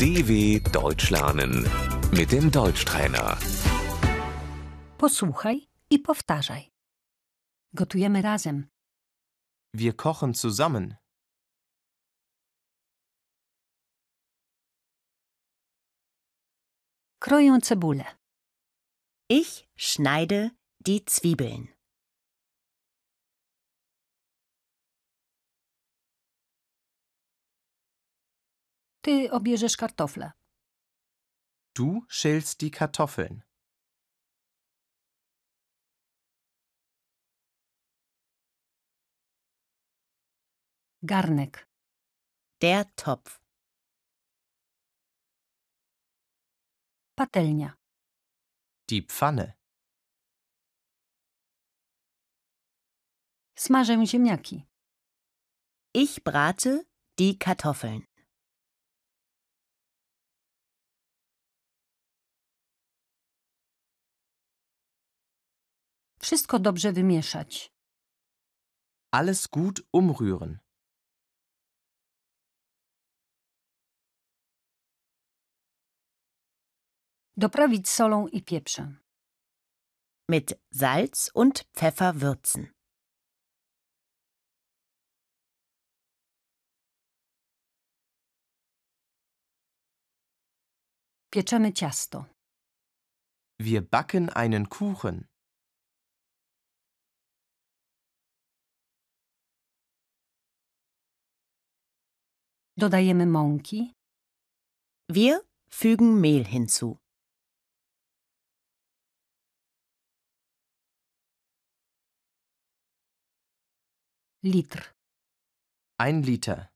DW Deutsch lernen mit dem Deutschtrainer. Posłuchaj i powtarzaj. Gotujemy razem. Wir kochen zusammen. Kroję cebulę. Ich schneide die Zwiebeln. Ty obierzesz kartofle. Du schälst die Kartoffeln. Garnek. Der Topf. Patelnia. Die Pfanne. Smażę ziemniaki. Ich brate die Kartoffeln. Wszystko dobrze wymieszać. Alles gut umrühren. Doprawić solą i pieprzem. Mit Salz und Pfeffer würzen. Pieczemy ciasto. Wir backen einen Kuchen. Dodajemy mąki. Wir fügen Mehl hinzu. Litr. Ein Liter.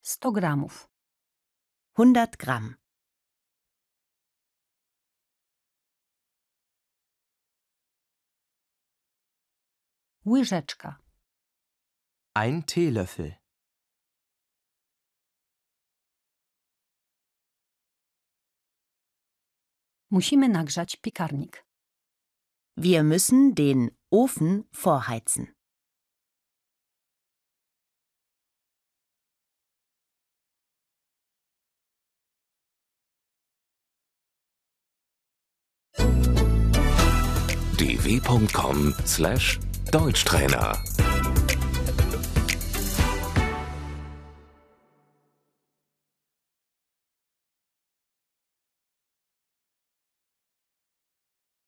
Sto gramów. 100 Gramm. Łyżeczka. Ein Teelöffel. Musimy nagrzać piekarnik. Wir müssen den Ofen vorheizen. dw.com/deutschtrainer